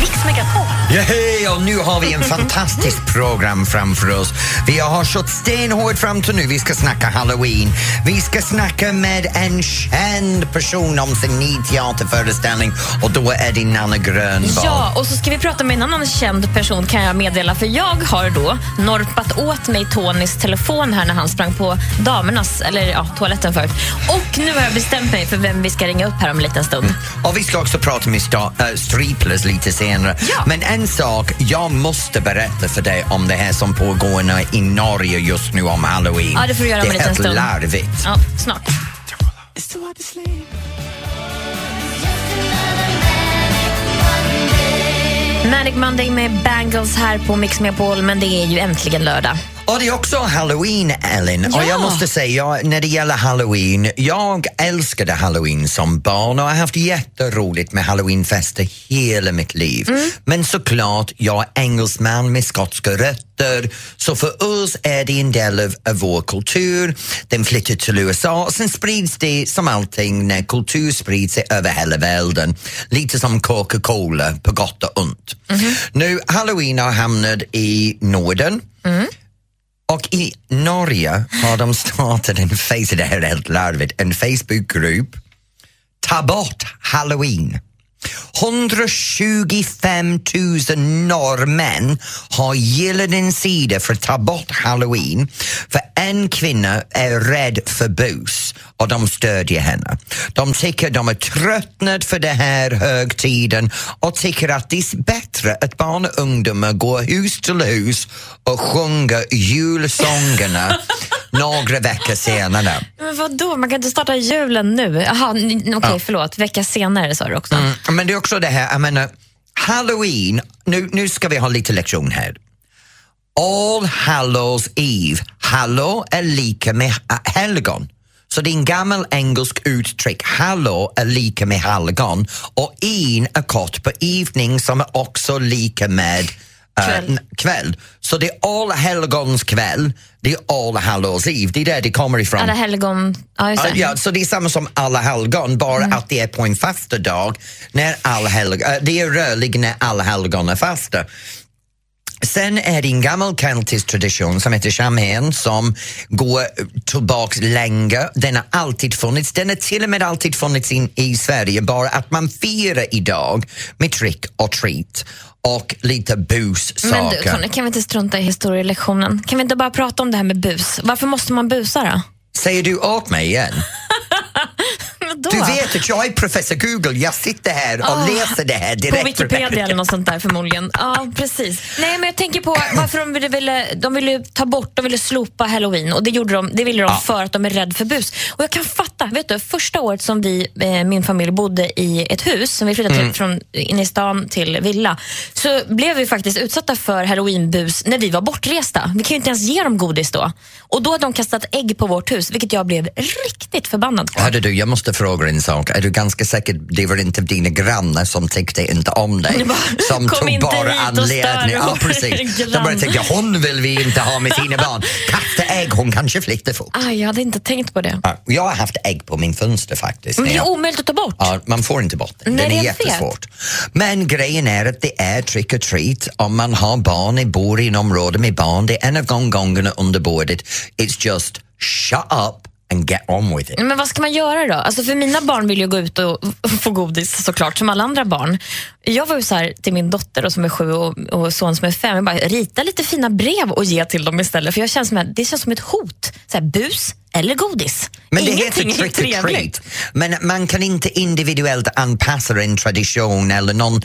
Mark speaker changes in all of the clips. Speaker 1: Mix Megapol.
Speaker 2: Ja, hej, och nu har vi en fantastisk program framför oss. Vi har kört stenhårt fram till nu. Vi ska snacka halloween. Vi ska snacka med en känd person om sin nya teaterföreställning och då är det Nanne Grönvall.
Speaker 3: Ja, och så ska vi prata med en annan känd person kan jag meddela för jag har då norpat åt mig Tonys telefon här när han sprang på damernas, eller ja, toaletten förut. Och nu har jag bestämt mig för vem vi ska ringa upp här om en liten stund.
Speaker 2: Och vi ska också prata med sta- äh, Striplers lite senare.
Speaker 3: Ja.
Speaker 2: Men en sak, jag måste berätta för dig om det här som pågår nu i Norge just nu om halloween.
Speaker 3: Ja, det får du göra om
Speaker 2: det
Speaker 3: en
Speaker 2: är
Speaker 3: liten
Speaker 2: helt
Speaker 3: stund.
Speaker 2: larvigt.
Speaker 3: Ja, snart. Manic Monday med Bangles här på Mix Megapol, men det är ju äntligen lördag.
Speaker 2: Och det är också halloween, Ellen. Och
Speaker 3: Ja.
Speaker 2: jag måste säga, jag, när det gäller halloween, jag älskade halloween som barn och har haft jätteroligt med halloweenfester hela mitt liv. Men såklart, jag är engelsman med skotska rötter, så för oss är det en del av, av vår kultur. Den flyttar till USA och sen sprids det som allting när kultur sprids sig över hela världen. Lite som Coca-Cola på gott och ont. Nu, halloween har hamnat i Norden. Och i Norge har de startat en, face, det här är helt larvigt, en Facebookgrupp. Ta bort halloween. 125 000 norrmän har gillat en sida för att ta bort halloween för en kvinna är rädd för bus och de stödjer henne. De tycker de är tröttnade för den här högtiden och tycker att det är bättre att barn och ungdomar går hus till hus och sjunger julsångerna några veckor senare.
Speaker 3: Men vadå, man kan inte starta julen nu? Jaha, n- okej, förlåt. Vecka senare sa du också.
Speaker 2: Mm, Men det är också det här, jag menar, halloween, nu, nu ska vi ha lite lektion här. All Hallows Eve, hallow är lika med ha- helgon. Så det är en gammal engelsk uttryck, hallow är lika med helgon och in är kort på evening som är också lika med eh,
Speaker 3: Kväll.
Speaker 2: n- kväll. Så det är All helgons kväll, det är All Hallows Eve, det är där det kommer ifrån.
Speaker 3: Alla helgon... Ja, just det.
Speaker 2: Mm. Ah, Ja, så det är samma som alla helgon, bara
Speaker 3: Mm.
Speaker 2: att det är på en fasta dag. När all helg- eh, det är rörlig när alla helgon är fasta. Sen är det en gammal keltisk tradition som heter shaman som går tillbaks länge. Den har alltid funnits. Den har till och med alltid funnits in i Sverige, bara att man firar idag med trick och treat och lite bussaker.
Speaker 3: Men du, Tony, kan vi inte strunta i historielektionen? Kan vi inte bara prata om det här med bus? Varför måste man busa då?
Speaker 2: Säger du åt mig igen?
Speaker 3: Vadå?
Speaker 2: Du vet att jag är professor Google, jag sitter här och
Speaker 3: Ah,
Speaker 2: läser det här direkt.
Speaker 3: På Wikipedia
Speaker 2: Rebecca.
Speaker 3: eller något sånt där förmodligen. Ja, precis. Nej, men jag tänker på varför de ville, ville, de ville ta bort, de ville slopa halloween och det gjorde de, det ville de för att de är rädda för bus. Och jag kan fatta, vet du, första året som vi, eh, min familj bodde i ett hus, som vi flyttade till från inne i stan till villa, så blev vi faktiskt utsatta för halloweenbus när vi var bortresta. Vi kan ju inte ens ge dem godis då. Och då hade de kastat ägg på vårt hus, vilket jag blev riktigt förbannad på.
Speaker 2: Hörde du, jag måste fråga en sak. Är du ganska säker det var inte dina grannar som tyckte inte om dig?
Speaker 3: bara,
Speaker 2: Som
Speaker 3: "Kom inte hit och stör
Speaker 2: Ja,
Speaker 3: vår
Speaker 2: precis. De
Speaker 3: grann."
Speaker 2: började tänka, hon vill vi inte ha med sina barn. Kasta ägg, hon kanske flyttar fort.
Speaker 3: Aj, jag hade inte tänkt på det.
Speaker 2: Ja, Jag har haft ägg på min fönster faktiskt.
Speaker 3: Men det
Speaker 2: när jag-
Speaker 3: är omöjligt att ta bort.
Speaker 2: Ja, man får inte bort den.
Speaker 3: Nej,
Speaker 2: den är
Speaker 3: jag vet.
Speaker 2: jättesvårt. Men grejen är att det är trick or treat om man har barn, i- bor i en område med barn. Det är en av gång- gångerna under bordet. It's just shut up and get on with it.
Speaker 3: Men vad ska man göra då? Alltså för mina barn vill ju gå ut och få godis såklart, som alla andra barn. Jag var ju så här till min dotter då, som är sju och, och son som är fem, jag bara rita lite fina brev och ge till dem istället. För jag känns som, att- det känns som ett hot. Så här, bus eller godis.
Speaker 2: Men det heter
Speaker 3: Ingenting är
Speaker 2: trick or
Speaker 3: trevligt.
Speaker 2: treat. Men man kan inte individuellt anpassa en tradition eller någon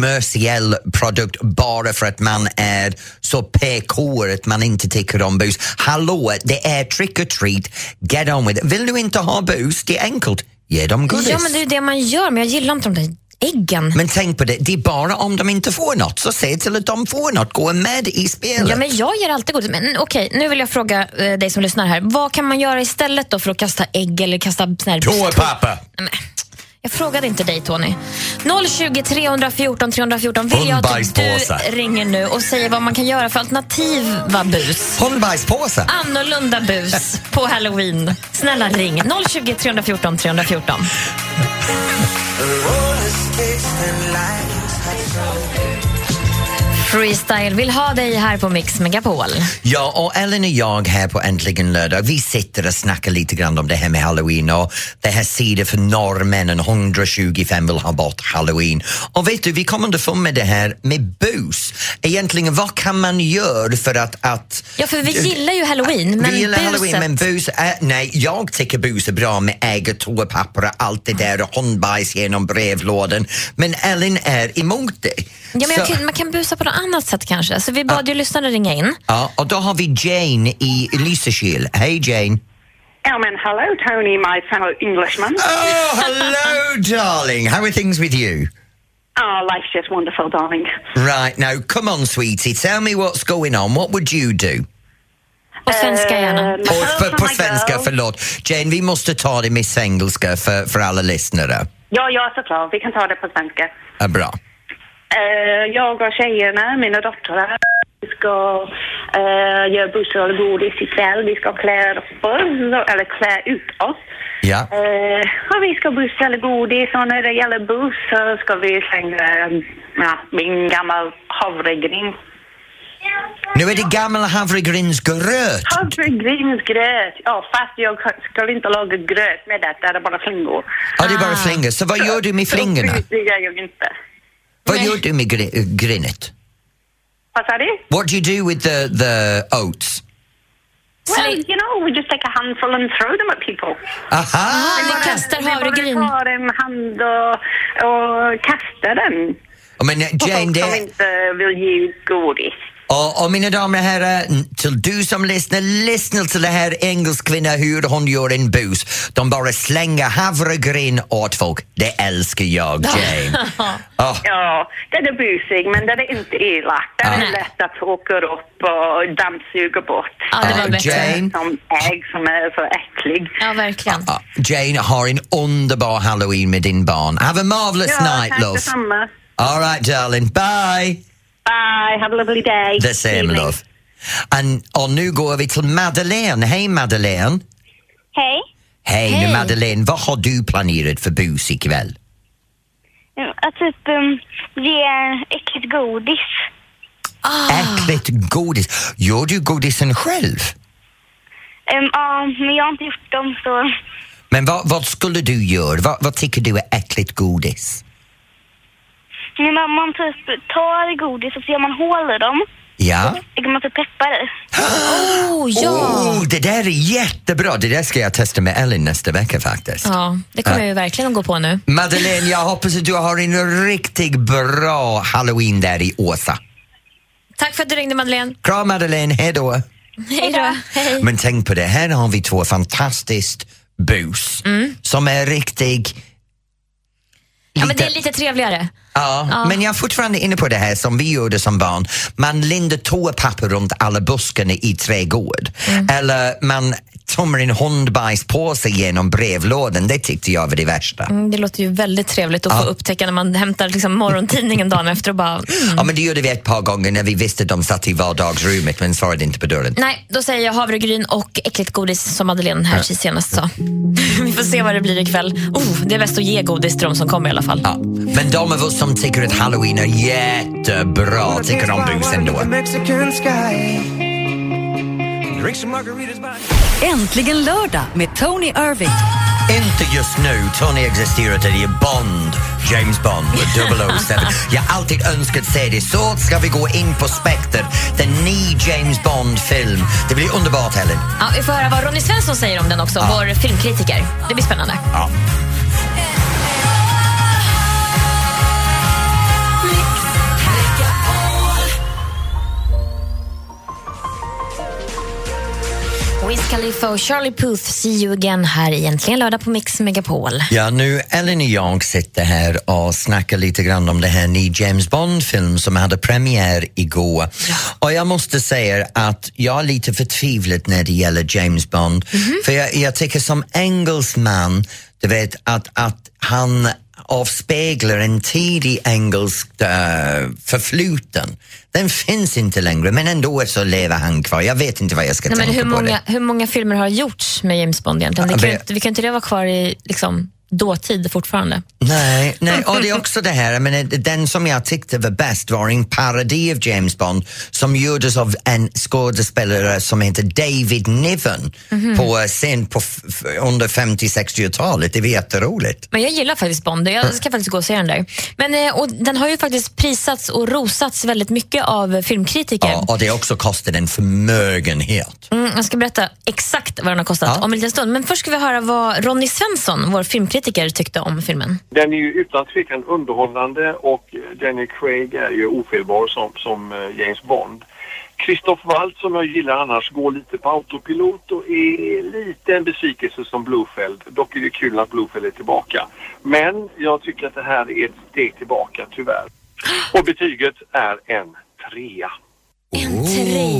Speaker 2: kommersiell produkt bara för att man är så PK att man inte tycker om bus. Hallå, det är trick or treat. Get on with it. Vill du inte ha bus, det är enkelt. Ge dem godis.
Speaker 3: Ja, men det är ju det man gör, men jag gillar inte de där äggen.
Speaker 2: Men tänk på det, det är bara om de inte får något. Så se till att de får något, gå med i spelet.
Speaker 3: Ja, men jag ger alltid godis. Men okej, nu vill jag fråga eh, dig som lyssnar här. Vad kan man göra istället då för att kasta ägg eller kasta sån här
Speaker 2: pappa!
Speaker 3: Nej, men, Jag frågade inte dig, Tony. 020 314 314 vill jag att
Speaker 2: Hundbajspåse.
Speaker 3: typ du ringer nu och säger vad man kan göra för alternativa bus.
Speaker 2: Hundbajspåse!
Speaker 3: Annorlunda bus på halloween. Snälla ring. 020 314 314.
Speaker 4: Roll is
Speaker 3: Freestyle vill ha dig här på Mix Megapol.
Speaker 2: Ja, och Ellen och jag här på Äntligen lördag, vi sitter och snackar lite grann om det här med halloween och det här sidan för norrmännen, 125 vill ha bort halloween. Och vet du, vi kom underfund med det här med bus. Egentligen, vad kan man göra för att... att
Speaker 3: Ja, för vi gillar ju halloween, men
Speaker 2: vi gillar
Speaker 3: buset...
Speaker 2: halloween, men bus är, nej, jag tycker bus är bra med eget toapapper och allt det där och hundbajs genom brevlådan. Men Ellen är emot det.
Speaker 3: Ja, men
Speaker 2: Så-
Speaker 3: jag kan, man kan busa på något annat sätt kanske. Så vi bad ju lyssnarna ringa in.
Speaker 2: Ja, och då har vi Jane i Lysekil. Hej Jane!
Speaker 4: Oh man, hello, Tony, my fellow Englishman.
Speaker 2: Oh, hello darling! How are things with you?
Speaker 4: Oh, life's just wonderful, darling.
Speaker 2: Right, now come on sweetie, tell me what's going on. What would you do?
Speaker 3: På svenska gärna.
Speaker 4: Um,
Speaker 2: Och
Speaker 4: hello
Speaker 2: för,
Speaker 4: from
Speaker 2: på
Speaker 4: my
Speaker 2: svenska,
Speaker 4: girl.
Speaker 2: förlåt. Jane, vi måste ta det med engelska för, för alla lyssnare.
Speaker 4: Ja, ja, såklart. Vi kan ta det på svenska.
Speaker 2: Ja, uh, bra.
Speaker 4: Eh, jag och tjejerna, mina döttrar, vi ska eh, göra busrullgodis ikväll. Vi ska klä oss, eller klä ut oss.
Speaker 2: Ja.
Speaker 4: Eh, och vi ska bussa eller godis och när det gäller buss så ska vi slänga eh, ja, min gammal havregryn.
Speaker 2: Nu är det gammal havregrynsgröt.
Speaker 4: Havregrynsgröt! Ja, fast jag ska inte laga gröt med detta, det är bara flingor.
Speaker 2: Ja, det är bara
Speaker 3: Ah.
Speaker 2: flingor. Så vad gör du med flingorna?
Speaker 4: Så Det gör jag inte.
Speaker 2: Vad
Speaker 3: Nej.
Speaker 2: gör du med gr- grynet?
Speaker 4: Vad sa du?
Speaker 2: What do you do with the, the oats?
Speaker 4: Well,
Speaker 3: Sli-
Speaker 4: you know, we just take a handful and throw them at people.
Speaker 2: Aha!
Speaker 4: Ah,
Speaker 3: Ni kastar havregryn.
Speaker 4: tar en hand och, och kastar den
Speaker 2: Men eh,
Speaker 4: på
Speaker 2: Jane,
Speaker 4: folk som
Speaker 2: det,
Speaker 4: inte vill ge godis.
Speaker 2: Och, och mina damer och herrar, n- till du som lyssnar, lyssna till det här engelskvinna hur hon gör en bus. De bara slänger havregryn åt folk. Det älskar jag, Jane. Ah, Åh,
Speaker 4: Ja, det är busig, men det är inte elakt. Det är
Speaker 3: Nej.
Speaker 4: lätt att åka upp och dammsuga bort.
Speaker 3: Ja, det var
Speaker 2: Ah,
Speaker 3: bättre.
Speaker 2: Jane.
Speaker 4: Som ägg som är så äcklig.
Speaker 3: Ja, verkligen.
Speaker 2: ah, Jane, ha en underbar halloween med din barn. Have a marvelous night,
Speaker 4: tack
Speaker 2: love.
Speaker 4: detsamma.
Speaker 2: All right, darling. Bye!
Speaker 4: Bye, have a lovely day.
Speaker 2: The same,
Speaker 4: Evening.
Speaker 2: love. And, och nu går vi till Madeleine. Hej, Madeleine.
Speaker 5: Hej.
Speaker 2: Hej,
Speaker 3: Hej.
Speaker 2: Madeleine. Vad har du planerat för bus ikväll?
Speaker 5: Mm, Att typ um, ge äckligt godis.
Speaker 2: Ah. Äckligt godis. Gör du godisen själv?
Speaker 5: Um, ja, men jag har inte gjort dem så.
Speaker 2: Men vad, vad skulle du göra? Vad, vad tycker du är äckligt godis?
Speaker 5: Men man, man typ tar godis och så gör man hål i dem.
Speaker 2: Ja.
Speaker 5: Så kan man typ peppar i.
Speaker 3: Oh, ja.
Speaker 2: Oh, det där är jättebra. Det där ska jag testa med Ellen nästa vecka faktiskt.
Speaker 3: ja, det kommer jag ju verkligen att gå på nu.
Speaker 2: Madeleine, jag hoppas att du har en riktigt bra halloween där i Åsa.
Speaker 3: Tack för att du ringde, Madeleine.
Speaker 2: Kram Madeleine, hej då.
Speaker 3: Hej då. Hej.
Speaker 2: Men tänk på det, här har vi två fantastiskt bus
Speaker 3: Mm.
Speaker 2: som är riktigt...
Speaker 3: Ja, men det är lite trevligare.
Speaker 2: Ja, men jag är fortfarande inne på det här som vi gjorde som barn. Man lindar toapapper runt alla buskarna i trädgård. Eller man tömmer en hundbajspåse genom brevlådan. Det tyckte jag var det värsta.
Speaker 3: Mm, Det låter ju väldigt trevligt att få upptäcka när man hämtar liksom morgontidningen dagen efter och bara... mm.
Speaker 2: Ja, men det gjorde vi ett par gånger när vi visste att de satt i vardagsrummet men svarade inte på dörren.
Speaker 3: Nej, då säger jag havregryn och äckligt godis som Madeleine här senast sa. Vi får se vad det blir ikväll. Oh, det är bäst att ge godis till de som kommer i alla fall.
Speaker 2: Ja. Men de av oss som tycker att halloween är jättebra tycker om bus ändå.
Speaker 1: Äntligen lördag med Tony Irving.
Speaker 2: Inte just nu. Tony existerar till i Bond. James Bond med 007. Jag har alltid önskat se det. Så ska vi gå in på Spectre, den ny James Bond-film. Det blir underbart, Helen.
Speaker 3: Ja, vi får höra vad Ronny Svensson säger om den också, vår filmkritiker. Det blir spännande.
Speaker 2: Ja.
Speaker 3: Wiz Khalifa och Charlie Puth, see you again här i Äntligen lördag på Mix Megapol.
Speaker 2: Ja, nu Ellen och jag sitter här och snackar lite grann om det här ny James Bond-film som hade premiär igår. Och jag måste säga att jag är lite förtvivlad när det gäller James Bond.
Speaker 3: Mhm.
Speaker 2: För jag, jag tycker som engelsman, du vet, att, att han avspeglar en tidig engelsk äh, förfluten. Den finns inte längre, men ändå så lever han kvar. Jag vet inte vad jag ska
Speaker 3: Nej, men
Speaker 2: tänka
Speaker 3: hur,
Speaker 2: på det.
Speaker 3: många, hur många filmer har gjorts med James Bond egentligen? Det
Speaker 2: Ja,
Speaker 3: kan, ju
Speaker 2: men-
Speaker 3: inte- vi kan inte det vara kvar i liksom, dåtid fortfarande.
Speaker 2: Nej, nej, och det är också det här, men eh, den som jag tyckte var bäst var en parodi av James Bond som gjordes av en skådespelare som heter David Niven
Speaker 3: Mhm.
Speaker 2: på eh, scen på f- f- under 50-60-talet. Det var jätteroligt.
Speaker 3: Men jag gillar faktiskt Bond.
Speaker 2: Mm.
Speaker 3: Jag ska faktiskt gå och se den där. Men, eh, och den har ju faktiskt prisats och rosats väldigt mycket av eh, filmkritiker.
Speaker 2: Ja, och det också kostade en förmögenhet.
Speaker 3: Mm, jag ska berätta exakt vad den har kostat
Speaker 2: Ja.
Speaker 3: om en liten stund. Men först ska vi höra vad Ronny Svensson, vår filmkritiker, tyckte om filmen.
Speaker 6: Den är ju utan tvekan underhållande och Daniel Craig är ju ofelbar som, som eh, James Bond. Christoph Waltz som jag gillar annars går lite på autopilot och är lite en besvikelse som Blofeld. Dock är det kul att Blofeld är tillbaka. Men jag tycker att det här är ett steg tillbaka tyvärr. Och betyget är en trea.
Speaker 3: En Mm,
Speaker 2: Oh.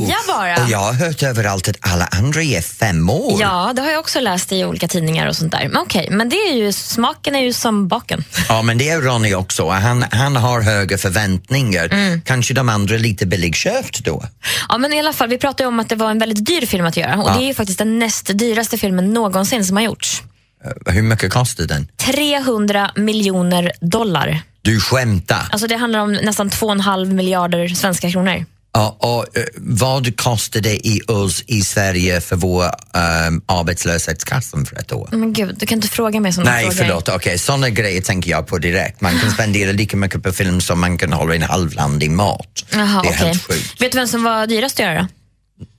Speaker 3: trea bara!
Speaker 2: Och jag har hört överallt att alla andra ger fem år.
Speaker 3: Ja, det har jag också läst i olika tidningar och sånt där. Men okej, men det är ju, smaken är ju som baken.
Speaker 2: Ja, men det är Ronny också. Han, han har höga förväntningar.
Speaker 3: Mm.
Speaker 2: Kanske de andra lite billigköpt då.
Speaker 3: Ja, men i alla fall, vi pratade ju om att det var en väldigt dyr film att göra och det är ju faktiskt den näst dyraste filmen någonsin som har gjorts.
Speaker 2: Eh, Hur mycket kostar den?
Speaker 3: 300 miljoner dollar.
Speaker 2: Du skämtar?
Speaker 3: Alltså det handlar om nästan 2,5 miljarder svenska kronor.
Speaker 2: Ja, och eh, vad kostade det i oss i Sverige för vår um, arbetslöshetskassan för ett år?
Speaker 3: Men gud, du kan inte fråga mig sådana
Speaker 2: Nej,
Speaker 3: frågor.
Speaker 2: förlåt. Okej, sådana grejer tänker jag på direkt. Man kan spendera lika mycket på film som man kan hålla en halvland i mat.
Speaker 3: Jaha,
Speaker 2: det är
Speaker 3: okej.
Speaker 2: helt sjukt.
Speaker 3: Vet du vem som var dyrast att göra då?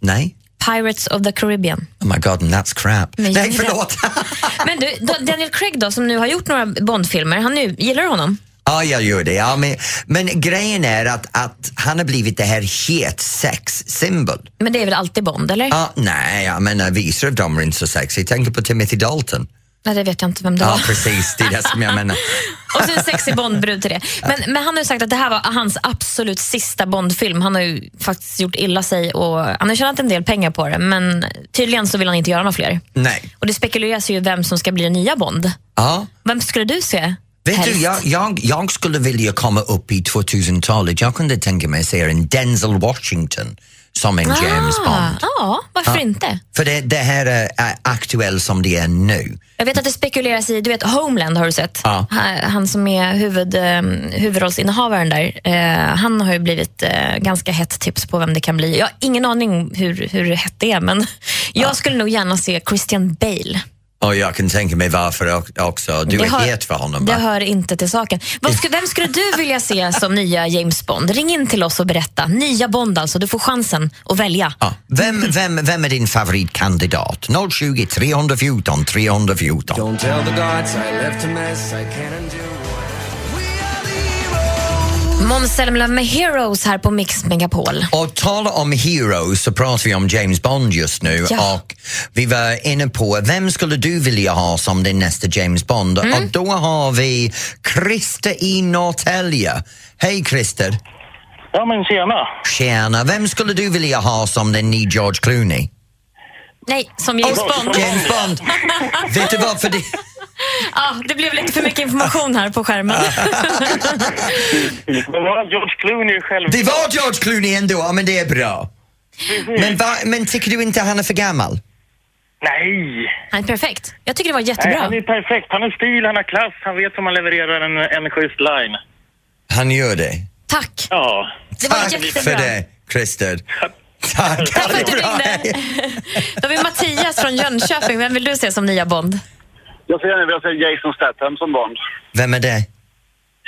Speaker 2: Nej?
Speaker 3: Pirates of the Caribbean.
Speaker 2: Oh my god, and that's crap.
Speaker 3: Men
Speaker 2: Nej,
Speaker 3: jag-
Speaker 2: förlåt.
Speaker 3: Men du, Da- Daniel Craig då, som nu har gjort några Bond-filmer, han nu, gillar du honom?
Speaker 2: Ja, jag gör det. Ja, men, men grejen är att, att han har blivit det här het sex-symbol.
Speaker 3: Men det är väl alltid Bond, eller?
Speaker 2: Ja, nej, jag menar visar av dem är inte så sexy. Tänk på Timothy Dalton.
Speaker 3: Nej, det vet jag inte vem det
Speaker 2: Ja,
Speaker 3: var.
Speaker 2: precis. Det är det som jag menar.
Speaker 3: Och så en sexig Bondbrud till det. Men, men han har ju sagt att det här var hans absolut sista Bondfilm. Han har ju faktiskt gjort illa sig och han har tjänat en del pengar på det. Men tydligen så vill han inte göra några fler.
Speaker 2: Nej.
Speaker 3: Och det spekuleras ju vem som ska bli den nya Bond.
Speaker 2: Ja.
Speaker 3: Vem skulle du se?
Speaker 2: Vet du,
Speaker 3: helst?
Speaker 2: jag, jag, jag skulle vilja komma upp i 2000-talet. Jag kunde tänka mig se en Denzel Washington som en James Bond.
Speaker 3: Ah, ja, varför inte?
Speaker 2: För det, det här är, är aktuellt som det är nu.
Speaker 3: Jag vet att det spekuleras i, du vet Homeland har du sett?
Speaker 2: Ja.
Speaker 3: Ha- Han som är huvud, eh, huvudrollsinnehavaren där, eh, han har ju blivit eh, ganska hett tips på vem det kan bli. Jag har ingen aning hur, hur hett det är, men jag skulle nog gärna se Christian Bale.
Speaker 2: Och jag kan tänka mig varför o- också. Du
Speaker 3: Det
Speaker 2: är
Speaker 3: hör-
Speaker 2: het för honom,
Speaker 3: Det
Speaker 2: va?
Speaker 3: hör inte till saken. Vad sku, vem skulle du vilja se som nya James Bond? Ring in till oss och berätta. Nya Bond alltså, du får chansen att välja.
Speaker 2: Ja. Vem, vem, vem är din favoritkandidat? 020 314 314.
Speaker 7: Don't tell the gods I left a mess I can't undo.
Speaker 3: Måns Zelmerlöw med Heroes här på Mix Megapol.
Speaker 2: Och tala om heroes så pratar vi om James Bond just nu
Speaker 3: Ja.
Speaker 2: och vi var inne på vem skulle du vilja ha som din nästa James Bond?
Speaker 3: Mm.
Speaker 2: Och då har vi Christer i Norrtälje. Hej Christer!
Speaker 8: Ja men tjena.
Speaker 2: Tjena! Vem skulle du vilja ha som din nya George Clooney?
Speaker 3: Nej, som James Bond.
Speaker 2: James Bond! Vet du varför det...
Speaker 3: Ja, det blev lite för mycket information här på skärmen.
Speaker 8: Men var George Clooney själv?
Speaker 2: Det var George Clooney ändå, ja, men det är bra. Men, va, men tycker du inte han är för gammal?
Speaker 8: Nej!
Speaker 3: Han är perfekt. Jag tycker det var
Speaker 8: Nej,
Speaker 3: jättebra.
Speaker 8: han är perfekt. Han har stil, han har klass, han vet hur man levererar en, en schysst line.
Speaker 2: Han gör det.
Speaker 3: Tack.
Speaker 8: Ja.
Speaker 3: Det var
Speaker 2: Tack
Speaker 3: jättebra.
Speaker 2: för det, Christer. Tack!
Speaker 3: Tack för att du
Speaker 2: Bra.
Speaker 3: ringde. Då har vi Mattias från Jönköping. Vem vill du se som nya Bond?
Speaker 9: Jag ser gärna vilja se Jason Statham som Bond.
Speaker 2: Vem är det?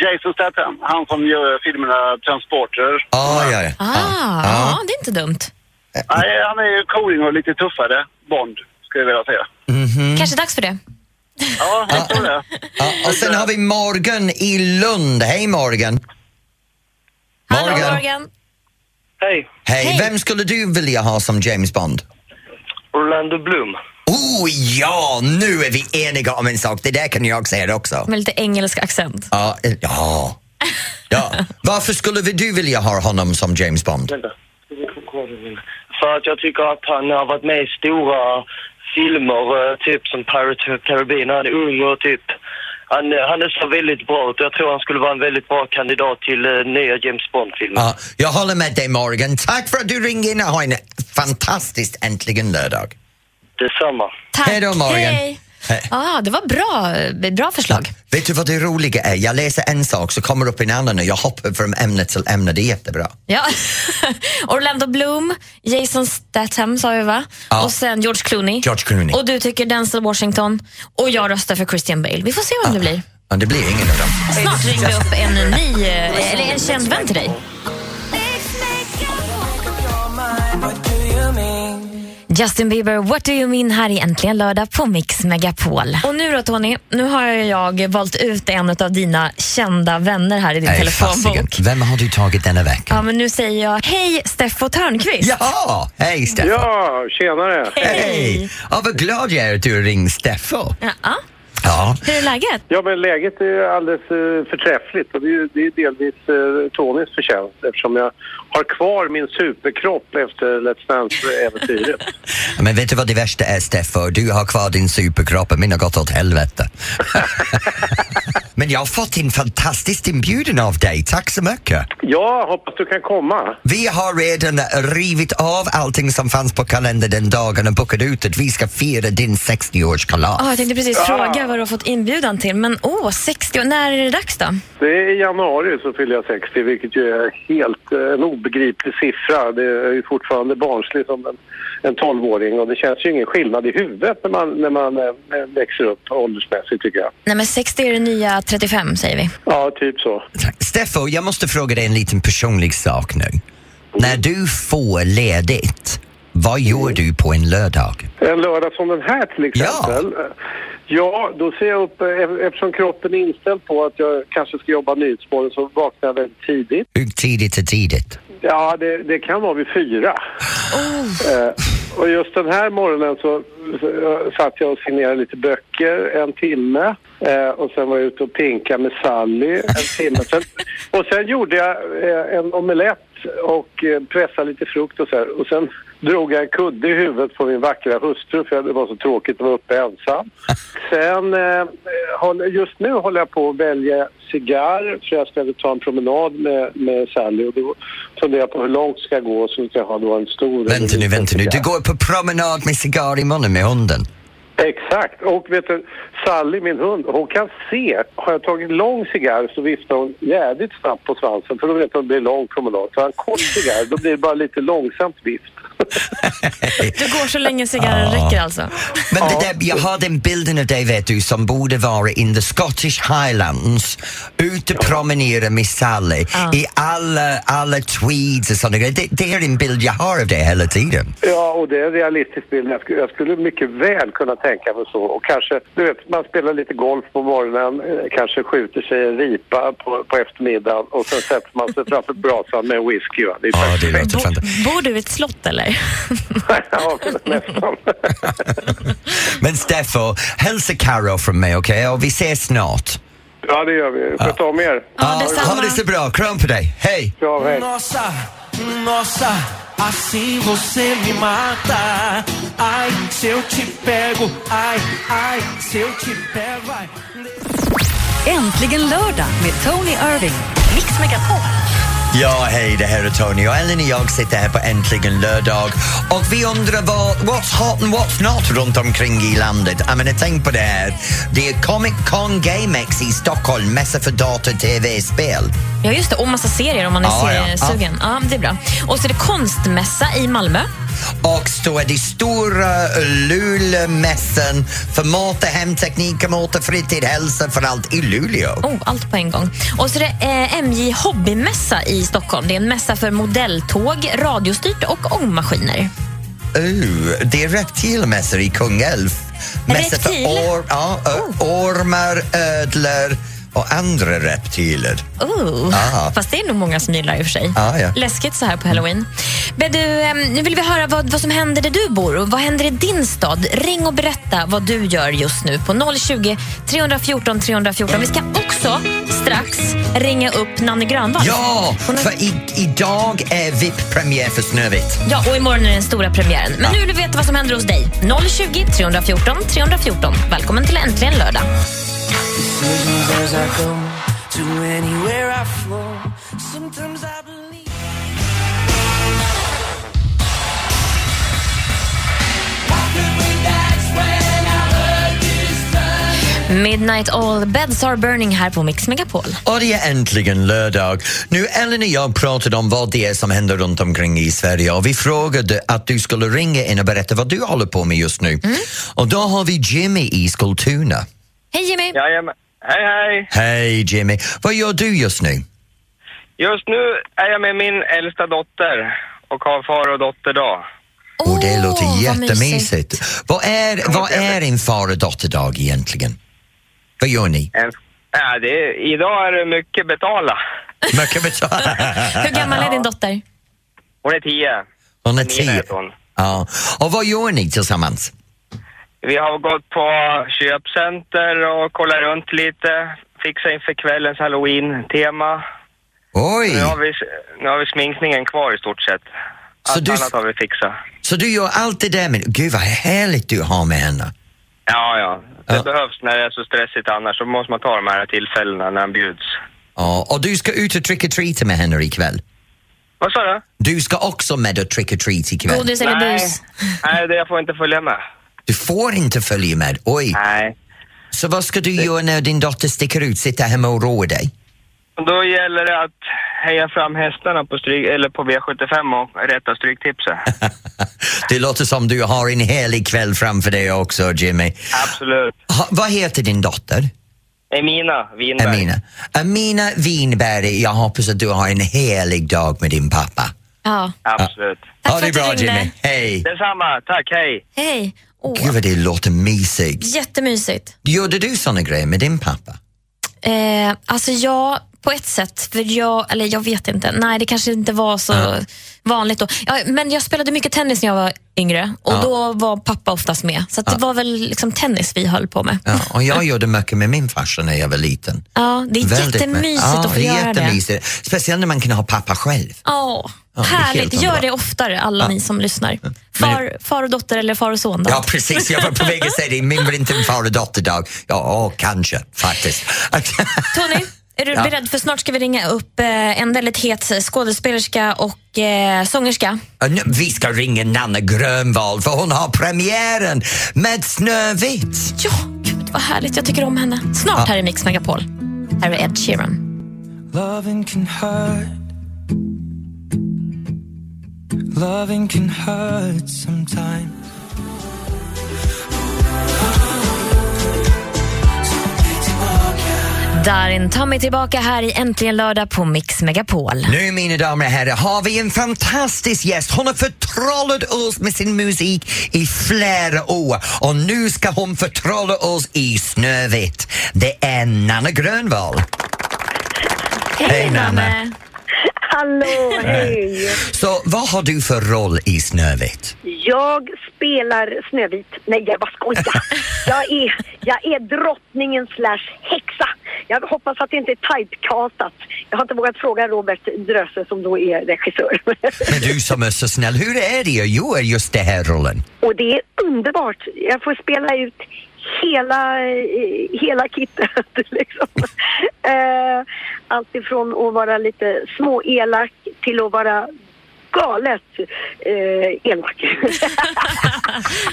Speaker 9: Jason Statham, han som gör filmerna Transporter.
Speaker 2: Ah, ja, ja.
Speaker 3: Ah, ja.
Speaker 2: Ja.
Speaker 3: det är inte dumt.
Speaker 9: Nej, han är ju cooling och lite tuffare Bond, skulle jag vilja säga.
Speaker 2: Mm.
Speaker 3: Kanske dags för det.
Speaker 9: Ja, jag tror det.
Speaker 2: Ja, och sen har vi Morgan i Lund. Hej Morgan!
Speaker 3: Hallå
Speaker 2: Morgan.
Speaker 3: Morgan.
Speaker 8: Hej.
Speaker 2: Hej,
Speaker 3: Hej.
Speaker 2: vem skulle du vilja ha som James Bond?
Speaker 8: Orlando Bloom.
Speaker 2: Oh ja, nu är vi eniga om en sak. Det där kan jag säga också.
Speaker 3: Med lite engelsk accent.
Speaker 2: Ja, eh, ja. ja. Varför skulle vi- du vilja ha honom som James Bond?
Speaker 8: För att jag tycker att han har varit med i stora filmer, eh, typ som Pirate of the Caribbean. Han är ung och typ... Han, eh, han är så väldigt bra ut jag tror han skulle vara en väldigt bra kandidat till eh, nya James Bond-filmer.
Speaker 2: Ja, jag håller med dig Morgan. Tack för att du ringde in och ha en fantastisk äntligen lördag.
Speaker 8: Detsamma.
Speaker 3: Tack.
Speaker 2: Hej då, Morgan.
Speaker 3: Hej. Ah, det var bra, eh, bra förslag.
Speaker 2: Vet du vad det roliga är? Jag läser en sak så kommer upp en annan och jag hoppar från ämne till ämne. Det är jättebra.
Speaker 3: Ja. Orlando Bloom, Jason Statham sa vi va?
Speaker 2: Ja.
Speaker 3: Och sen George Clooney.
Speaker 2: George Clooney.
Speaker 3: Och du tycker Denzel Washington. Och jag röstar för Christian Bale. Vi får se vem det blir.
Speaker 2: Ja, det blir ingen av dem.
Speaker 3: Snart ringer vi upp en ny, eh, eller en känd vän till dig. Justin Bieber, What Do You Mean här i Äntligen lördag på Mix Megapol. Och nu då Tony, nu har jag valt ut en av dina kända vänner här i din
Speaker 2: Nej,
Speaker 3: telefonbok.
Speaker 2: fasiken. Vem har du tagit denna vecka?
Speaker 3: Ja, men nu säger jag hej Steffo Törnqvist.
Speaker 2: Jaha! Hej Steffo!
Speaker 9: Ja, tjenare!
Speaker 2: Hej! Ja, vad glad jag är att du ringde Steffo.
Speaker 3: Ja.
Speaker 2: Ja.
Speaker 3: Hur är läget?
Speaker 9: Ja, men läget är alldeles eh, förträffligt och det är, ju- det är delvis eh, Tonys förtjänst eftersom jag har kvar min superkropp efter Let's Dance-äventyret.
Speaker 2: Men vet du vad det värsta är Steffo? Du har kvar din superkropp och min har gått åt helvete. Men jag har fått en fantastisk inbjudan av dig, tack så mycket.
Speaker 9: Ja, hoppas du kan komma.
Speaker 2: Vi har redan rivit av allting som fanns på kalendern den dagen och bokat ut att vi ska fira din 60-årskalas.
Speaker 3: Ja, jag tänkte precis fråga vad du har fått inbjudan till, men åh, 60 när är det dags då?
Speaker 9: Det är i januari så fyller jag 60, vilket ju är helt eh, en obegriplig siffra. Det är ju fortfarande barnslig som en, en 12-åring och det känns ju ingen skillnad i huvudet när man, när man eh, växer upp åldersmässigt tycker jag.
Speaker 3: Nej, men 60 är det nya 35 säger vi.
Speaker 9: Ja, typ så.
Speaker 2: Tack. Steffo, jag måste fråga dig en liten personlig sak nu. När du får ledigt, vad gör du på en lördag?
Speaker 9: En lördag som den här till exempel. Ja. då ser jag upp, eh, eftersom kroppen är inställd på att jag kanske ska jobba nyhetsmorgon så vaknar jag väldigt tidigt.
Speaker 2: Hur tidigt är tidigt?
Speaker 9: Ja, det, det kan vara vid fyra. Eh, och just den här morgonen så, så eh, satt jag och signerade lite böcker en timme. Eh, och sen var jag ute och pinka med Sally en timme. Sen, och sen gjorde jag eh, en omelett och eh, pressade lite frukt och så här. Och sen drog jag en kudde i huvudet på min vackra hustru för det var så tråkigt att vara uppe ensam. Sen, eh, håller- just nu håller jag på att välja cigarr för jag ska ta en promenad med, med Sally och då funderar jag på hur långt ska jag gå så ska jag ha då en stor...
Speaker 2: Vänta nu, vänta nu. Du går på promenad med cigarr i munnen med hunden.
Speaker 9: Exakt. Och vet du, Sally, min hund, hon kan se. Har jag tagit lång cigarr så viftar hon jävligt snabbt på svansen för då vet hon att det blir lång promenad. Tar jag en kort cigarr då blir det bara lite långsamt vift.
Speaker 3: Du går så länge cigarren räcker alltså.
Speaker 2: Men det där, jag har den bilden av dig vet du som borde vara in the Scottish Highlands ute och promenera med Sally i alla, alla tweeds och sådana grejer. Det, det är en bild jag har av dig hela tiden.
Speaker 9: Ja, och det är en realistisk bild. Jag skulle, jag skulle mycket väl kunna tänka mig så. Och kanske, du vet, man spelar lite golf på morgonen, eh, kanske skjuter sig en eh, ripa på, på eftermiddagen och sen sätter man sig framför brasan med en whisky. Va? Det är
Speaker 2: Ja,
Speaker 9: perfekt.
Speaker 2: det låter
Speaker 3: Bo,
Speaker 2: fantastiskt.
Speaker 3: bor du i ett slott eller?
Speaker 9: ja, nästan.
Speaker 2: Men Steffo, hälsa Karo från mig okej? Och vi ses snart.
Speaker 9: ja, det gör vi. Sköt om er.
Speaker 3: Ja,
Speaker 2: Ja, ha det så bra, kram på dig, hej!
Speaker 9: Ja, hej.
Speaker 8: Mm.
Speaker 7: Nossa, nossa, assim você me mata. Ai, se eu te pego, ai, ai, se eu te pego, ai.
Speaker 1: Äntligen lördag med Tony Irving. Mix Megapol.
Speaker 2: Ja, hej, det här är Tony och Ellen och jag sitter här på Äntligen lördag och vi undrar vad, what's hot and what's not runt omkring i landet. Jag menar, tänk på det här. Det är Comic Con Game X i Stockholm, mässa för dator, tv, och spel.
Speaker 3: Ja, just det. Och massa serier om man är
Speaker 2: Ja, ja.
Speaker 3: seriesugen. Ja. det är bra. Och så är det konstmässa i Malmö.
Speaker 2: Och så är det stora Luleåmässan för mat och hemteknik, och mat och fritid, hälsa för allt i Luleå.
Speaker 3: Oh, allt på en gång. Och så är det eh, MJ Hobbymässa i Stockholm. Det är en mässa för modelltåg, radiostyrt och ångmaskiner.
Speaker 2: Oh, det är reptilmässor i Kungälv. Mässor för
Speaker 3: Reptil? Oh.
Speaker 2: or, ja, ö- ormar, ödlor och andra reptiler.
Speaker 3: Oh.
Speaker 2: Ah.
Speaker 3: Fast det är nog många som gillar i och för sig.
Speaker 2: Ah, ja.
Speaker 3: Läskigt så här på halloween. Men du, eh, nu vill vi höra vad, vad som händer där du bor och vad händer i din stad. Ring och berätta vad du gör just nu på 020 314 314. Vi ska också strax ringa upp Nanne Grönvall.
Speaker 2: Ja,
Speaker 3: Hon har-
Speaker 2: för i, idag är VIP-premiär för Snövit.
Speaker 3: Ja, och imorgon är den stora premiären. Men nu vill vi veta vad som händer hos dig. 020 314 314. Välkommen till Äntligen lördag.
Speaker 7: Decisions as I go to anywhere I flow. Sometimes I believe. Walking with that's when I heard this
Speaker 3: Midnight All Beds Are Burning här på Mix Megapol.
Speaker 2: Och det är äntligen lördag. Nu Ellen och jag pratade om vad det är som händer runt omkring i Sverige och vi frågade att du skulle ringa in och berätta vad du håller på med just nu. Och då har vi Jimmy i Skultuna.
Speaker 3: Hej Jimmy!
Speaker 8: Jajamän. Hej, hej!
Speaker 2: Hej Jimmy! Vad gör du just nu?
Speaker 8: Just nu är jag med min äldsta dotter och har far och dotter dag.
Speaker 2: Åh, det
Speaker 3: Åh,
Speaker 2: låter
Speaker 3: vad
Speaker 2: jättemysigt. Vad är, vad är en far och dotterdag egentligen? Vad gör ni?
Speaker 8: En, äh, det är, idag är det mycket betala.
Speaker 2: Mycket betala.
Speaker 3: Hur gammal är din dotter?
Speaker 8: Hon är tio.
Speaker 2: Hon är
Speaker 8: Mina
Speaker 2: tio.
Speaker 8: heter hon.
Speaker 2: Ja. Och vad gör ni tillsammans?
Speaker 8: Vi har gått på köpcenter och kollat runt lite. Fixat inför kvällens halloween-tema.
Speaker 2: Oj!
Speaker 8: Nu har, vi, nu har vi sminkningen kvar i stort sett.
Speaker 2: Så
Speaker 8: Allt
Speaker 2: du-
Speaker 8: annat har vi fixat.
Speaker 2: Så du gör allt det där med... Gud vad härligt du har med henne.
Speaker 8: Ja, ja. Det
Speaker 2: Ja.
Speaker 8: behövs när det är så stressigt annars. Så måste man ta de här tillfällena när den bjuds.
Speaker 2: Ja, och du ska ut och trick or treata med henne ikväll.
Speaker 8: Vad sa du?
Speaker 2: Du ska också med och trick or treat ikväll.
Speaker 3: Godis eller bus?
Speaker 8: Nej, det jag får inte följa med.
Speaker 2: Du får inte följa med. Oj!
Speaker 8: Nej.
Speaker 2: Så vad ska du göra när din dotter sticker ut? Sitta hemma och roa dig?
Speaker 8: Och Då gäller det att heja fram hästarna på, stryk, eller på V75 och rätta stryktipset.
Speaker 2: Det låter som du har en helig kväll framför dig också, Jimmy.
Speaker 8: Absolut.
Speaker 2: Ha, vad heter din dotter?
Speaker 8: Emina Winberg.
Speaker 2: Amina. Amina Winberg, jag hoppas att du har en helig dag med din pappa.
Speaker 3: Ja.
Speaker 8: Absolut.
Speaker 3: Tack
Speaker 2: ha
Speaker 3: för
Speaker 2: det
Speaker 3: att du
Speaker 2: bra,
Speaker 3: ringde.
Speaker 2: Jimmy. Hej!
Speaker 8: Detsamma. Tack, hej.
Speaker 3: Hej!
Speaker 2: Gud
Speaker 3: Åh,
Speaker 2: vad det låter mysigt.
Speaker 3: jättemysigt.
Speaker 2: Gjorde du såna grejer med din pappa?
Speaker 3: Eh, alltså jag, på ett sätt, för jag, eller jag vet inte. Nej, det kanske inte var så vanligt då. Ja, men jag spelade mycket tennis när jag var yngre och då var pappa oftast med. Så att det var väl liksom tennis vi höll på med. Ja,
Speaker 2: Ja, och jag gjorde mycket med min farsa när jag var liten.
Speaker 3: det är
Speaker 2: Väldigt mycket.
Speaker 3: jättemysigt
Speaker 2: ja,
Speaker 3: att få
Speaker 2: det är
Speaker 3: göra det.
Speaker 2: jättemysigt. Speciellt när man kan ha pappa själv.
Speaker 3: Ja,
Speaker 2: Ja, det är helt
Speaker 3: härligt. Gör
Speaker 2: underbart.
Speaker 3: det oftare, alla ni som lyssnar. Far, far och dotter eller far och son. Då.
Speaker 2: Ja, precis. Jag var på väg att säga det. Min var inte en far och dotterdag. Ja, åh, kanske faktiskt.
Speaker 3: Tony, är du beredd? För snart ska vi ringa upp eh, en väldigt het skådespelerska och eh, sångerska.
Speaker 2: Och nu- Vi ska ringa Nanne Grönvall för hon har premiären med Snövit.
Speaker 3: Ja, gud vad härligt. Jag tycker om henne. Snart här i Mix Megapol. Här är Ed Sheeran.
Speaker 7: Loving can hurt. Loving can hurt sometimes.
Speaker 3: Darin Tommy tillbaka här i Äntligen lördag på Mix Megapol.
Speaker 2: Nu mina damer och herrar har vi en fantastisk gäst. Hon har förtrollat oss med sin musik i flera år och nu ska hon förtrolla oss i Snövit. Det är Nanne Grönvall. Hej, Nanne.
Speaker 4: Hallå, hej!
Speaker 2: Så vad har du för roll i Snövit?
Speaker 4: Jag spelar Snövit. Nej, jag bara skojar. Jag är, jag är drottningen slash häxa. Jag hoppas att det inte är typecastat. Jag har inte vågat fråga Robert Dröse som då är regissör.
Speaker 2: Men du som är så snäll, hur är det att göra just det här rollen?
Speaker 4: Och det är underbart. Jag får spela ut hela, eh, hela kittet. Liksom. Eh, allt ifrån att vara lite småelak till att vara galet eh, elak.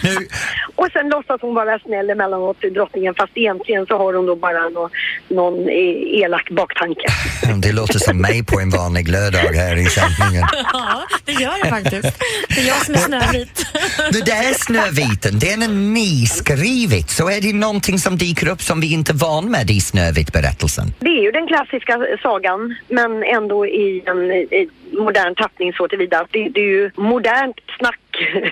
Speaker 2: Nu,
Speaker 4: och sen låtsas hon vara snäll emellanåt till drottningen fast egentligen så har hon då bara någon, någon eh, elak baktanke.
Speaker 2: det låter som mig på en vanlig lördag här i sändningen.
Speaker 3: Ja, det gör det faktiskt. Det är jag som är Snövit.
Speaker 2: Det där Snöviten, den är nyskrivit. Så är det någonting som dyker upp som vi inte är van med i Snövit-berättelsen?
Speaker 4: Det är ju den klassiska sagan, men ändå i en i modern tappning så tillvida att det, det är ju modernt snack.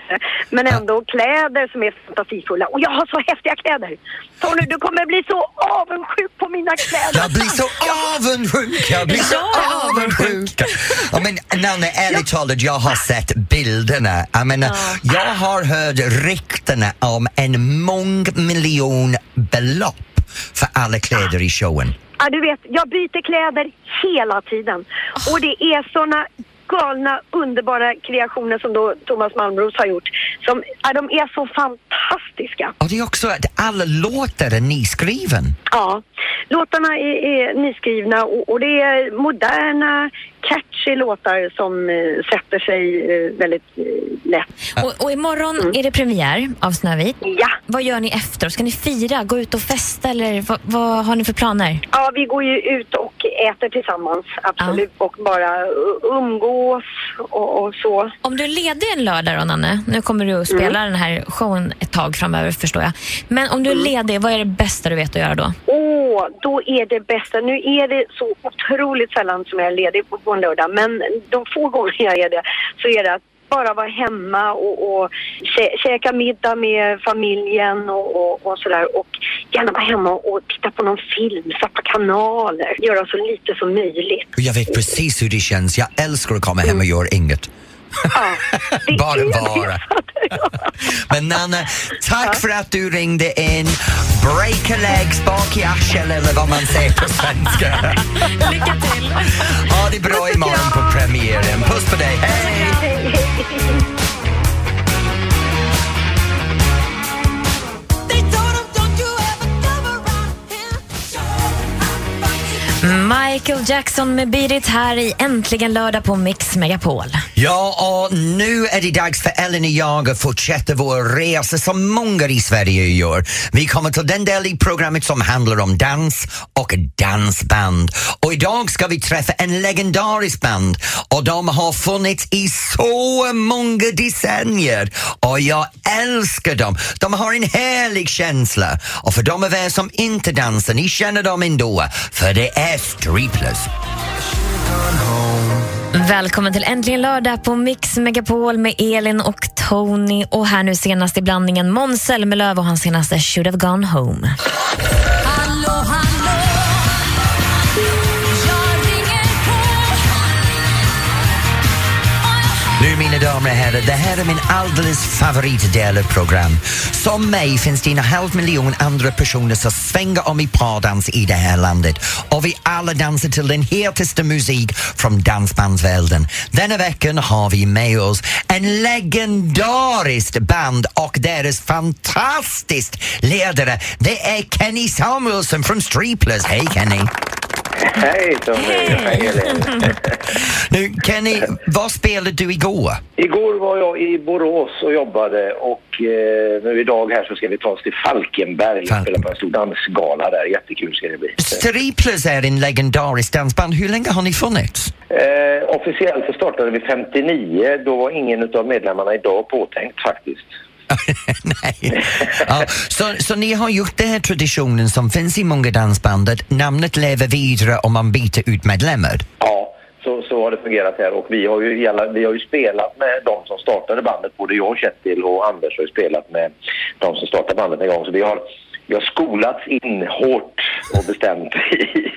Speaker 4: Men ändå kläder som är fantasifulla. Och jag har så häftiga kläder! Tony, du kommer bli så avundsjuk på mina kläder!
Speaker 2: Jag blir så avundsjuk! Jag blir så
Speaker 3: Ja.
Speaker 2: avundsjuk! Ja, men Nanne, ärligt talat, jag har sett bilderna. Jag, menar, jag har hört ryktena om en mångmiljonbelopp för alla kläder i showen.
Speaker 4: Ja, du vet, jag byter kläder hela tiden. Och det är såna galna, underbara kreationer som då Thomas Malmros har gjort. Som, ja, de är så fantastiska.
Speaker 2: Och det är också att alla låtar är nyskriven.
Speaker 4: Ja, låtarna är, är nyskrivna och, och det är moderna, catchy låtar som eh, sätter sig eh, väldigt eh, lätt.
Speaker 3: Och, och imorgon
Speaker 2: Mm.
Speaker 3: är det premiär av Snövit.
Speaker 4: Ja.
Speaker 3: Vad gör ni efter? Ska ni fira, gå ut och festa eller vad, vad har ni för planer?
Speaker 4: Ja, vi går ju ut och äter tillsammans, absolut. Och bara uh, umgås och, och så.
Speaker 3: Om du är ledig en lördag då, Nanne, nu kommer du att spela den här showen ett tag framöver förstår jag. Men om du är ledig, vad är det bästa du vet att göra då?
Speaker 4: Åh, då är det bästa. Nu är det så otroligt sällan som jag är ledig på, på en lördag, men de få gånger jag är det så är det att bara vara hemma och, och kä- käka middag med familjen och, och, och sådär. Och gärna vara hemma och titta på någon film, starta kanaler, göra så lite som möjligt.
Speaker 2: Jag vet precis hur det känns. Jag älskar att komma hem och göra inget.
Speaker 4: Ja, det
Speaker 2: Bara
Speaker 4: är det.
Speaker 2: vara. Men Nanne, tack för att du ringde in. Break a legs bak i arsel eller vad man säger på svenska.
Speaker 3: Lycka till!
Speaker 2: Ha det bra imorgon på premiären. Puss på dig, hej!
Speaker 3: Michael Jackson med Beat It här i Äntligen lördag på Mix Megapol.
Speaker 2: Ja, och nu är det dags för Ellen och jag att fortsätta vår resa som många i Sverige gör. Vi kommer till den del i programmet som handlar om dans och dansband. Och idag ska vi träffa en legendarisk band och de har funnits i så många decennier och jag älskar dem. De har en härlig känsla och för de av er som inte dansar, ni känner dem ändå för det är striplers.
Speaker 3: Välkommen till Äntligen lördag på Mix Megapol med Elin och Tony och här nu senast i blandningen Måns Zelmerlöw och hans senaste Should have gone home.
Speaker 2: Nu mina damer och herrar, det här är min alldeles favoritdel av program. Som mig finns det en halv miljon andra personer som svänger om i pardans i det här landet och vi alla dansar till den hetaste musik från dansbandsvärlden. Denna veckan har vi med oss en legendariskt band och deras fantastiskt ledare. Det är Kenny Samuelsson från Striplers. Hej Kenny!
Speaker 9: Hej Tommy! Hej Elin!
Speaker 2: Nu Kenny, vad spelade du igår?
Speaker 9: Igår var jag i Borås och jobbade och eh, nu idag här så ska vi ta oss till Falkenberg och spela på en stor dansgala där. Jättekul ska det bli.
Speaker 2: Striplers är en legendarisk dansband. Hur länge har ni funnits?
Speaker 9: Eh, officiellt så startade vi 59. Då var ingen av medlemmarna idag påtänkt faktiskt.
Speaker 2: Nej. Ja, så, så ni har gjort den här traditionen som finns i många dansband att namnet lever vidare om man byter ut medlemmar.
Speaker 9: Ja, så, så har det fungerat här och vi har, ju, hela- vi har ju spelat med de som startade bandet. Både jag, Kjetil och Anders har ju spelat med de som startade bandet en gång. Så vi har, vi har skolats in hårt och bestämt i,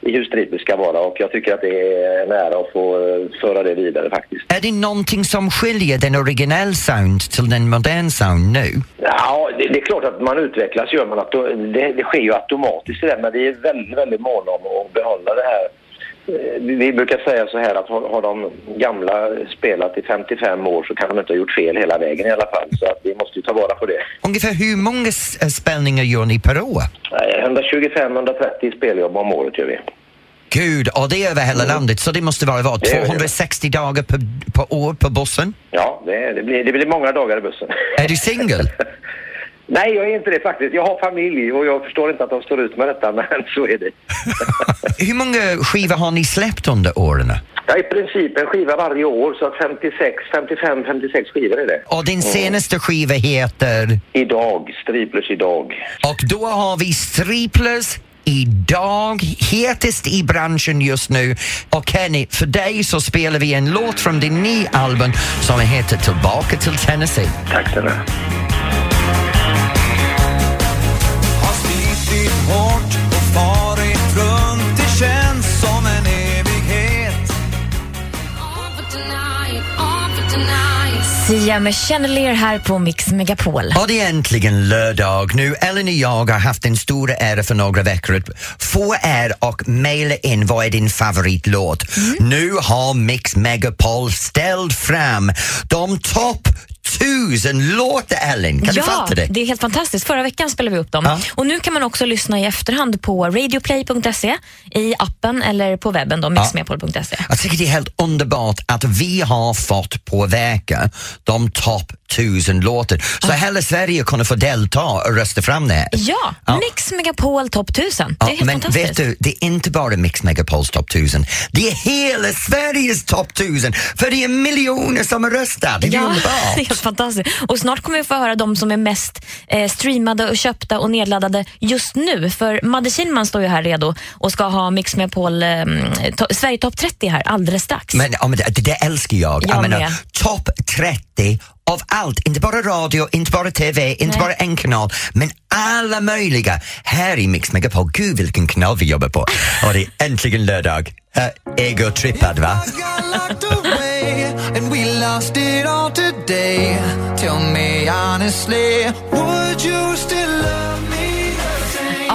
Speaker 9: i hur strider ska vara och jag tycker att det är en ära att få eh, föra det vidare faktiskt.
Speaker 2: Är det någonting som skiljer den originell sound till den modern sound nu?
Speaker 9: Ja, det, det är klart att man utvecklas, gör man att det, det sker ju automatiskt det där, men vi är väldigt, väldigt måna om att behålla det här. Eh, Vi, vi brukar säga så här att har, har de gamla spelat i 55 år så kan de inte ha gjort fel hela vägen i alla fall, så att vi måste ju ta vara på det.
Speaker 2: Ungefär hur många s- eh, spelningar gör ni per år?
Speaker 9: Eh, 125-130 speljobb om året gör vi.
Speaker 2: Gud, och det är över hela landet så det måste vara vad,
Speaker 9: Mm. Det är över hela-
Speaker 2: 260 dagar per, per år på bussen?
Speaker 9: Ja, det, det, blir, det blir många dagar i bussen.
Speaker 2: Är du singel?
Speaker 9: Nej, jag är inte det faktiskt. Jag har familj och jag förstår inte att de står ut med detta, men så är det.
Speaker 2: hur många skivor har ni släppt under åren?
Speaker 9: Jag i princip en skiva varje år, så att 56, 55, 56 skivor är det.
Speaker 2: Och din senaste skiva heter?
Speaker 9: Idag, striplers idag.
Speaker 2: Och då har vi striplers idag, hetast i branschen just nu. Och Kenny, för dig så spelar vi en låt från din nya album som heter Tillbaka till Tennessee.
Speaker 9: Tack snälla.
Speaker 7: Har slitit hårt och farit runt, det känns som en evighet
Speaker 3: Sia med Chandelier här på Mix Megapol.
Speaker 2: Och det är äntligen lördag nu. Ellen och jag har haft en stora ära för några veckor att få er och mejla in vad är din favoritlåt. Nu har Mix Megapol ställt fram de topp tusen låtar, Ellen! Kan du
Speaker 3: ja,
Speaker 2: fatta det?
Speaker 3: det är helt fantastiskt. Förra veckan spelade vi upp dem.
Speaker 2: Ja.
Speaker 3: Och nu kan man också lyssna i efterhand på radioplay.se, i appen eller på webben då, mixmepol.se.
Speaker 2: Jag tycker det är helt underbart att vi har fått påverka de topp tusen låten. Så hela Sverige kunde få delta och rösta fram det här.
Speaker 3: Ja,
Speaker 2: Ja.
Speaker 3: Mix Megapol topp 1000.
Speaker 2: Ja,
Speaker 3: det är helt
Speaker 2: men
Speaker 3: fantastiskt.
Speaker 2: vet du, det är inte bara Mix Megapols topp 1000. Det är hela Sveriges topp 1000! För det är miljoner som har röstat. Det är
Speaker 3: Ja, det är
Speaker 2: underbart!
Speaker 3: helt fantastiskt. Och snart kommer vi få höra de som är mest eh, streamade och köpta och nedladdade just nu. För Madde Kihlman står ju här redo och ska ha Mix Megapol eh, to- Sverige topp 30 här alldeles strax.
Speaker 2: Men ja, men det, det älskar jag.
Speaker 3: Jag
Speaker 2: menar,
Speaker 3: med.
Speaker 2: topp 30 av allt. Inte bara radio, inte bara TV, inte
Speaker 3: Nej.
Speaker 2: bara en kanal, men alla möjliga. Här i Mix Megapol, gud vilken kanal vi jobbar på. Och det är äntligen lördag. Eh, Ego-trippad va?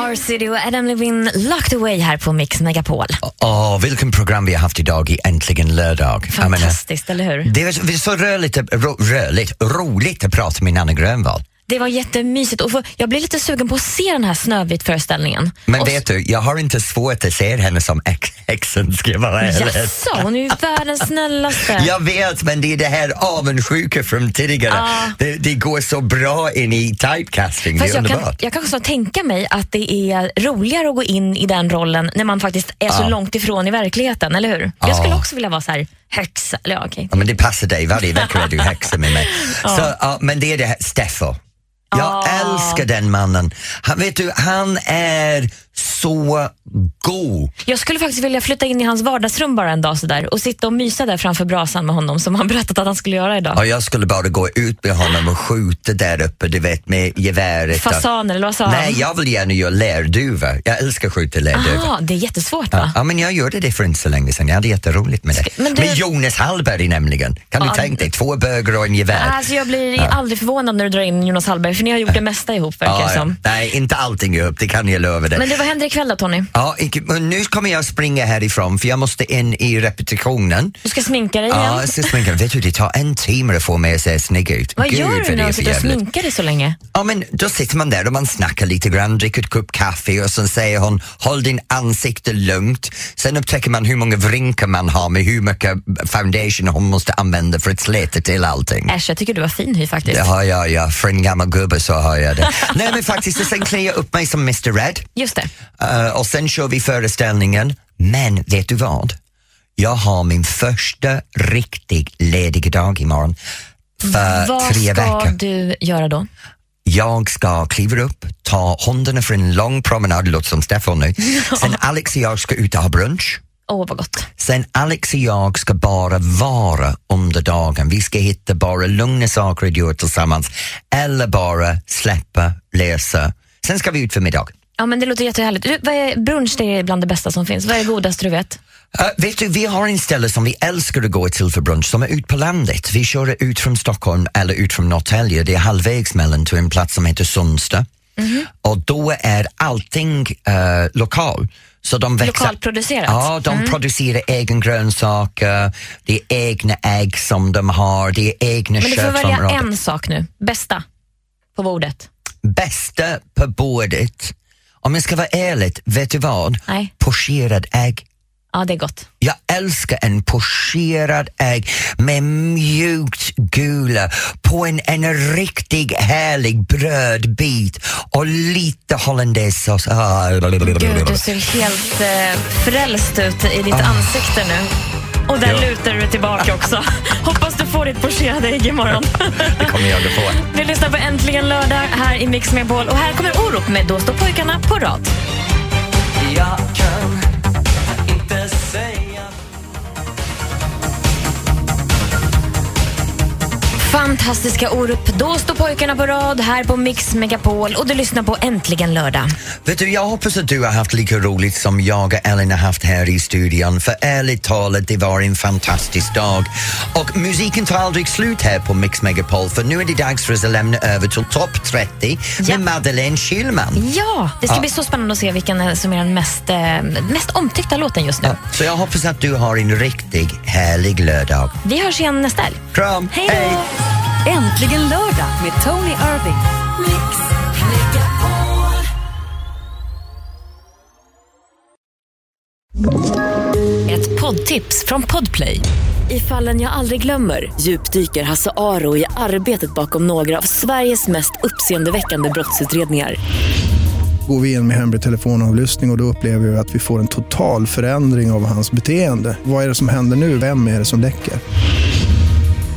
Speaker 3: R-City och Adam Levine locked away här på Mix Megapol.
Speaker 2: Åh, vilken program vi har haft idag i Äntligen lördag. Jag menar,
Speaker 3: Fantastiskt, eller hur?
Speaker 2: Det var det var så rörligt, ro, rörligt, roligt att prata med Nanne Grönvall.
Speaker 3: Det var jättemysigt och få- jag blir lite sugen på att se den här Snövit-föreställningen.
Speaker 2: Men
Speaker 3: Och-
Speaker 2: vet du, jag har inte svårt att se henne som ex- exen ska jag vara ärlig.
Speaker 3: Jaså, hon är ju världens snällaste.
Speaker 2: Jag vet, men det är det här avundsjuka från tidigare.
Speaker 3: Ja.
Speaker 2: Det, det går så bra in i typecasting,
Speaker 3: Fast
Speaker 2: det är
Speaker 3: jag, kan,
Speaker 2: underbart.
Speaker 3: jag kanske ska tänka mig att det är roligare att gå in i den rollen när man faktiskt är så långt ifrån i verkligheten, eller hur? Jag skulle
Speaker 2: Ja.
Speaker 3: också vilja vara så här högsa, eller ja, okej.
Speaker 2: Ja, men det passar dig, varje vecka är du häxa med mig. Så, ja, men det är det här, Steffo. Jag älskar den mannen. Han, vet du, han är så god.
Speaker 3: Jag skulle faktiskt vilja flytta in i hans vardagsrum bara en dag sådär och sitta och mysa där framför brasan med honom som han berättat att han skulle göra idag.
Speaker 2: Ja, jag skulle bara gå ut med honom och skjuta där uppe, du vet, med geväret. och-
Speaker 3: Fasaner, eller vad sa
Speaker 2: Nej, jag vill gärna göra lärduva. Jag älskar att skjuta
Speaker 3: han?
Speaker 2: lärduva.
Speaker 3: Aha, Ah, det är jättesvårt va?
Speaker 2: Ja. ja, men jag gjorde det för inte så länge sedan. Jag hade jätteroligt med det.
Speaker 3: Ska- men du-
Speaker 2: Med Jonas Hallberg nämligen. Kan du
Speaker 3: Ja.
Speaker 2: tänka dig? Två bögar och en gevär.
Speaker 3: Alltså jag blir aldrig förvånad när du drar in Jonas Hallberg för ni har gjort det mesta ihop verkar
Speaker 2: Ja,
Speaker 3: det
Speaker 2: ja.
Speaker 3: som.
Speaker 2: Nej, inte allting ihop, det kan jag lova dig.
Speaker 3: Men du, vad händer ikväll då Tony?
Speaker 2: Ja, icke- men nu kommer jag springa härifrån för jag måste in i repetitionen.
Speaker 3: Du ska sminka dig igen?
Speaker 2: Ja, jag ska sminka. Vet du, det tar en timme att få mig att se snygg ut.
Speaker 3: vad
Speaker 2: Gud,
Speaker 3: gör
Speaker 2: vad
Speaker 3: du
Speaker 2: det
Speaker 3: när
Speaker 2: är för
Speaker 3: du sitter och
Speaker 2: jävligt.
Speaker 3: sminkar dig så länge?
Speaker 2: Ja, men då sitter man där och man snackar lite grann, dricker ett kopp kaffe och sen säger hon håll din ansikte lugnt. Sen upptäcker man hur många vrinkar man har med hur mycket foundation hon måste använda för att släta till allting.
Speaker 3: Äsch, jag tycker du var fin hy faktiskt.
Speaker 2: Det har jag, ja. För en gammal gubbe så har jag det. Nej, men faktiskt, och sen klär jag upp mig som Mr Red
Speaker 3: Just det.
Speaker 2: eh, och sen kör vi föreställningen. Men vet du vad? Jag har min första riktig ledig dag imorgon för
Speaker 3: Vad
Speaker 2: tre
Speaker 3: ska
Speaker 2: veckor.
Speaker 3: du göra då?
Speaker 2: jag ska kliva upp, ta hundarna för en lång promenad, det låter som Stefan nu. Sen Alex och jag ska ut och ha brunch.
Speaker 3: Åh, vad gott.
Speaker 2: Sen Alex och jag ska bara vara under dagen. Vi ska hitta bara lugna saker att göra tillsammans eller bara släppa, läsa. Sen ska vi ut för middag.
Speaker 3: Ja, men det låter jättehärligt. Du, vad är, brunch det är bland det bästa som finns. Vad är det godaste du vet?
Speaker 2: Eh, vet du, vi har en ställe som vi älskar att gå till för brunch som är ut på landet. Vi kör ut från Stockholm eller ut från Norrtälje. Det är halvvägs mellan till en plats som heter Sundsta.
Speaker 3: Mhm.
Speaker 2: Och då är allting eh, lokal. Så de växer.
Speaker 3: Lokalproducerat? Mm.
Speaker 2: Ja, de producerar egen grönsaker, det är egna ägg som de har, det är egna
Speaker 3: Men du får välja
Speaker 2: köpsområden.
Speaker 3: en sak nu. Bästa på bordet.
Speaker 2: Bästa på bordet, om jag ska vara ärlig, vet du vad?
Speaker 3: Nej.
Speaker 2: Pocherad ägg.
Speaker 3: Ja, det är gott.
Speaker 2: Jag älskar en pocherad ägg med mjukt gula på en, en riktig härlig brödbit och lite hollandaisesås. Ah,
Speaker 3: Gud, du ser helt eh, frälst ut i ditt ansikte nu. Och där lutar du dig tillbaka också. Hoppas du får ditt pocherade ägg imorgon.
Speaker 2: Det kommer jag att få.
Speaker 3: du lyssnar på Äntligen lördag här i Mix med Boll och här kommer Orup med Då står pojkarna på rad.
Speaker 7: Jag kan inte säga
Speaker 3: Fantastiska Orup, då står pojkarna på rad här på Mix Megapol och du lyssnar på Äntligen lördag.
Speaker 2: Vet du, jag hoppas att du har haft lika roligt som jag och Ellen har haft här i studion. För ärligt talat, det var en fantastisk dag. Och musiken tar aldrig slut här på Mix Megapol för nu är det dags för oss att lämna över till topp 30
Speaker 3: Ja.
Speaker 2: med Madeleine Schillman.
Speaker 3: Ja, det ska
Speaker 2: Ja.
Speaker 3: bli så spännande att se vilken eh, som är den mest, eh, mest omtyckta låten just nu.
Speaker 2: Ja, Så jag hoppas att du har en riktig härlig lördag.
Speaker 3: Vi hörs igen nästa helg.
Speaker 2: Kram!
Speaker 3: Hej då!
Speaker 10: Äntligen lördag med Tony Irving.
Speaker 3: Ett poddtips från Podplay. I fallen jag aldrig glömmer djupdyker Hasse Aro i arbetet bakom några av Sveriges mest uppseendeväckande brottsutredningar.
Speaker 7: Går vi in med hemlig telefonavlyssning och, och då upplever vi att vi får en total förändring av hans beteende. Vad är det som händer nu? Vem är det som läcker?